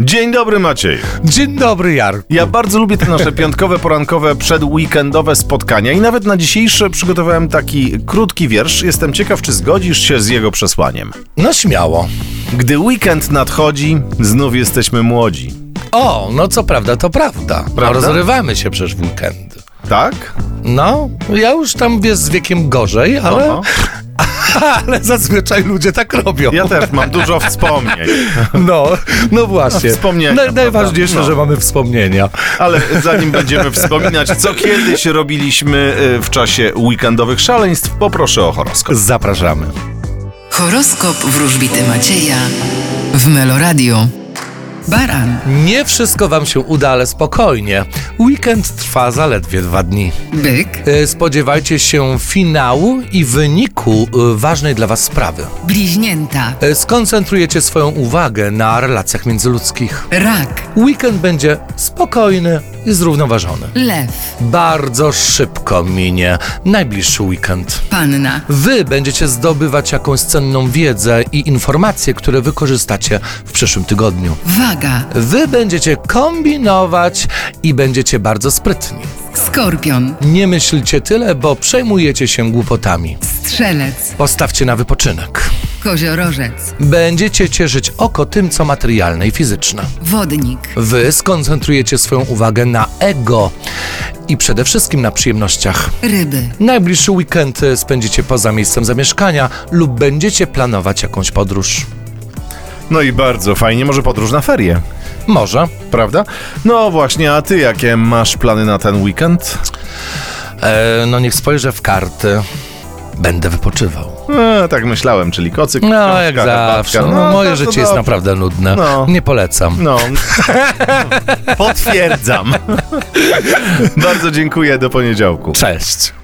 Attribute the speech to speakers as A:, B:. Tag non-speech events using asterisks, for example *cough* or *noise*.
A: Dzień dobry Maciej.
B: Dzień dobry, Jar.
A: Ja bardzo lubię te nasze piątkowe, porankowe, przedweekendowe spotkania i nawet na dzisiejsze przygotowałem taki krótki wiersz. Jestem ciekaw, czy zgodzisz się z jego przesłaniem.
B: No śmiało.
A: Gdy weekend nadchodzi, znów jesteśmy młodzi.
B: O, no co prawda, to prawda.
A: Prawda?
B: No, rozrywamy się przecież w weekend.
A: Tak?
B: No, ja już tam wiesz, z wiekiem gorzej, ale,
A: Oho.
B: *laughs* ale zazwyczaj ludzie tak robią.
A: Ja też mam dużo wspomnień.
B: No, no właśnie.
A: Wspomnienia,
B: Naj-
A: prawda?
B: najważniejsze,
A: No.
B: że mamy wspomnienia.
A: Ale zanim będziemy wspominać, co kiedyś robiliśmy y, w czasie weekendowych szaleństw, poproszę o horoskop.
B: Zapraszamy.
C: Horoskop wróżbity Macieja w Meloradio. Baran,
B: Nie wszystko wam się uda, ale spokojnie. Weekend trwa zaledwie dwa dni.
C: byk,
B: E, Spodziewajcie się finału i wyniku e, ważnej dla was sprawy.
C: bliźnięta,
B: E, Skoncentrujecie swoją uwagę na relacjach międzyludzkich.
C: rak,
B: Weekend będzie spokojny i zrównoważony.
C: lew,
B: Bardzo szybko minie najbliższy weekend.
C: panna,
B: Wy będziecie zdobywać jakąś cenną wiedzę i informacje, które wykorzystacie w przyszłym tygodniu.
C: waga,
B: Wy będziecie kombinować i będziecie bardzo sprytni.
C: skorpion,
B: Nie myślcie tyle, bo przejmujecie się głupotami.
C: strzelec,
B: Postawcie na wypoczynek.
C: koziorożec,
B: Będziecie cieszyć oko tym, co materialne i fizyczne.
C: wodnik,
B: Wy skoncentrujecie swoją uwagę na ego i przede wszystkim na przyjemnościach.
C: ryby,
B: Najbliższy weekend e, spędzicie poza miejscem zamieszkania lub będziecie planować jakąś podróż.
A: No i bardzo fajnie, może podróż na ferie,
B: Może.
A: prawda? No właśnie, a ty jakie masz plany na ten weekend?
B: E, no niech spojrzę w karty. Będę wypoczywał.
A: E, tak myślałem, czyli kocyk.
B: No,
A: książka,
B: jak
A: herbatka.
B: zawsze. No, moje
A: bardzo
B: życie jest
A: dobrze.
B: naprawdę nudne.
A: No.
B: Nie polecam. *laughs*
A: No. Potwierdzam. bardzo dziękuję, do poniedziałku.
B: Cześć.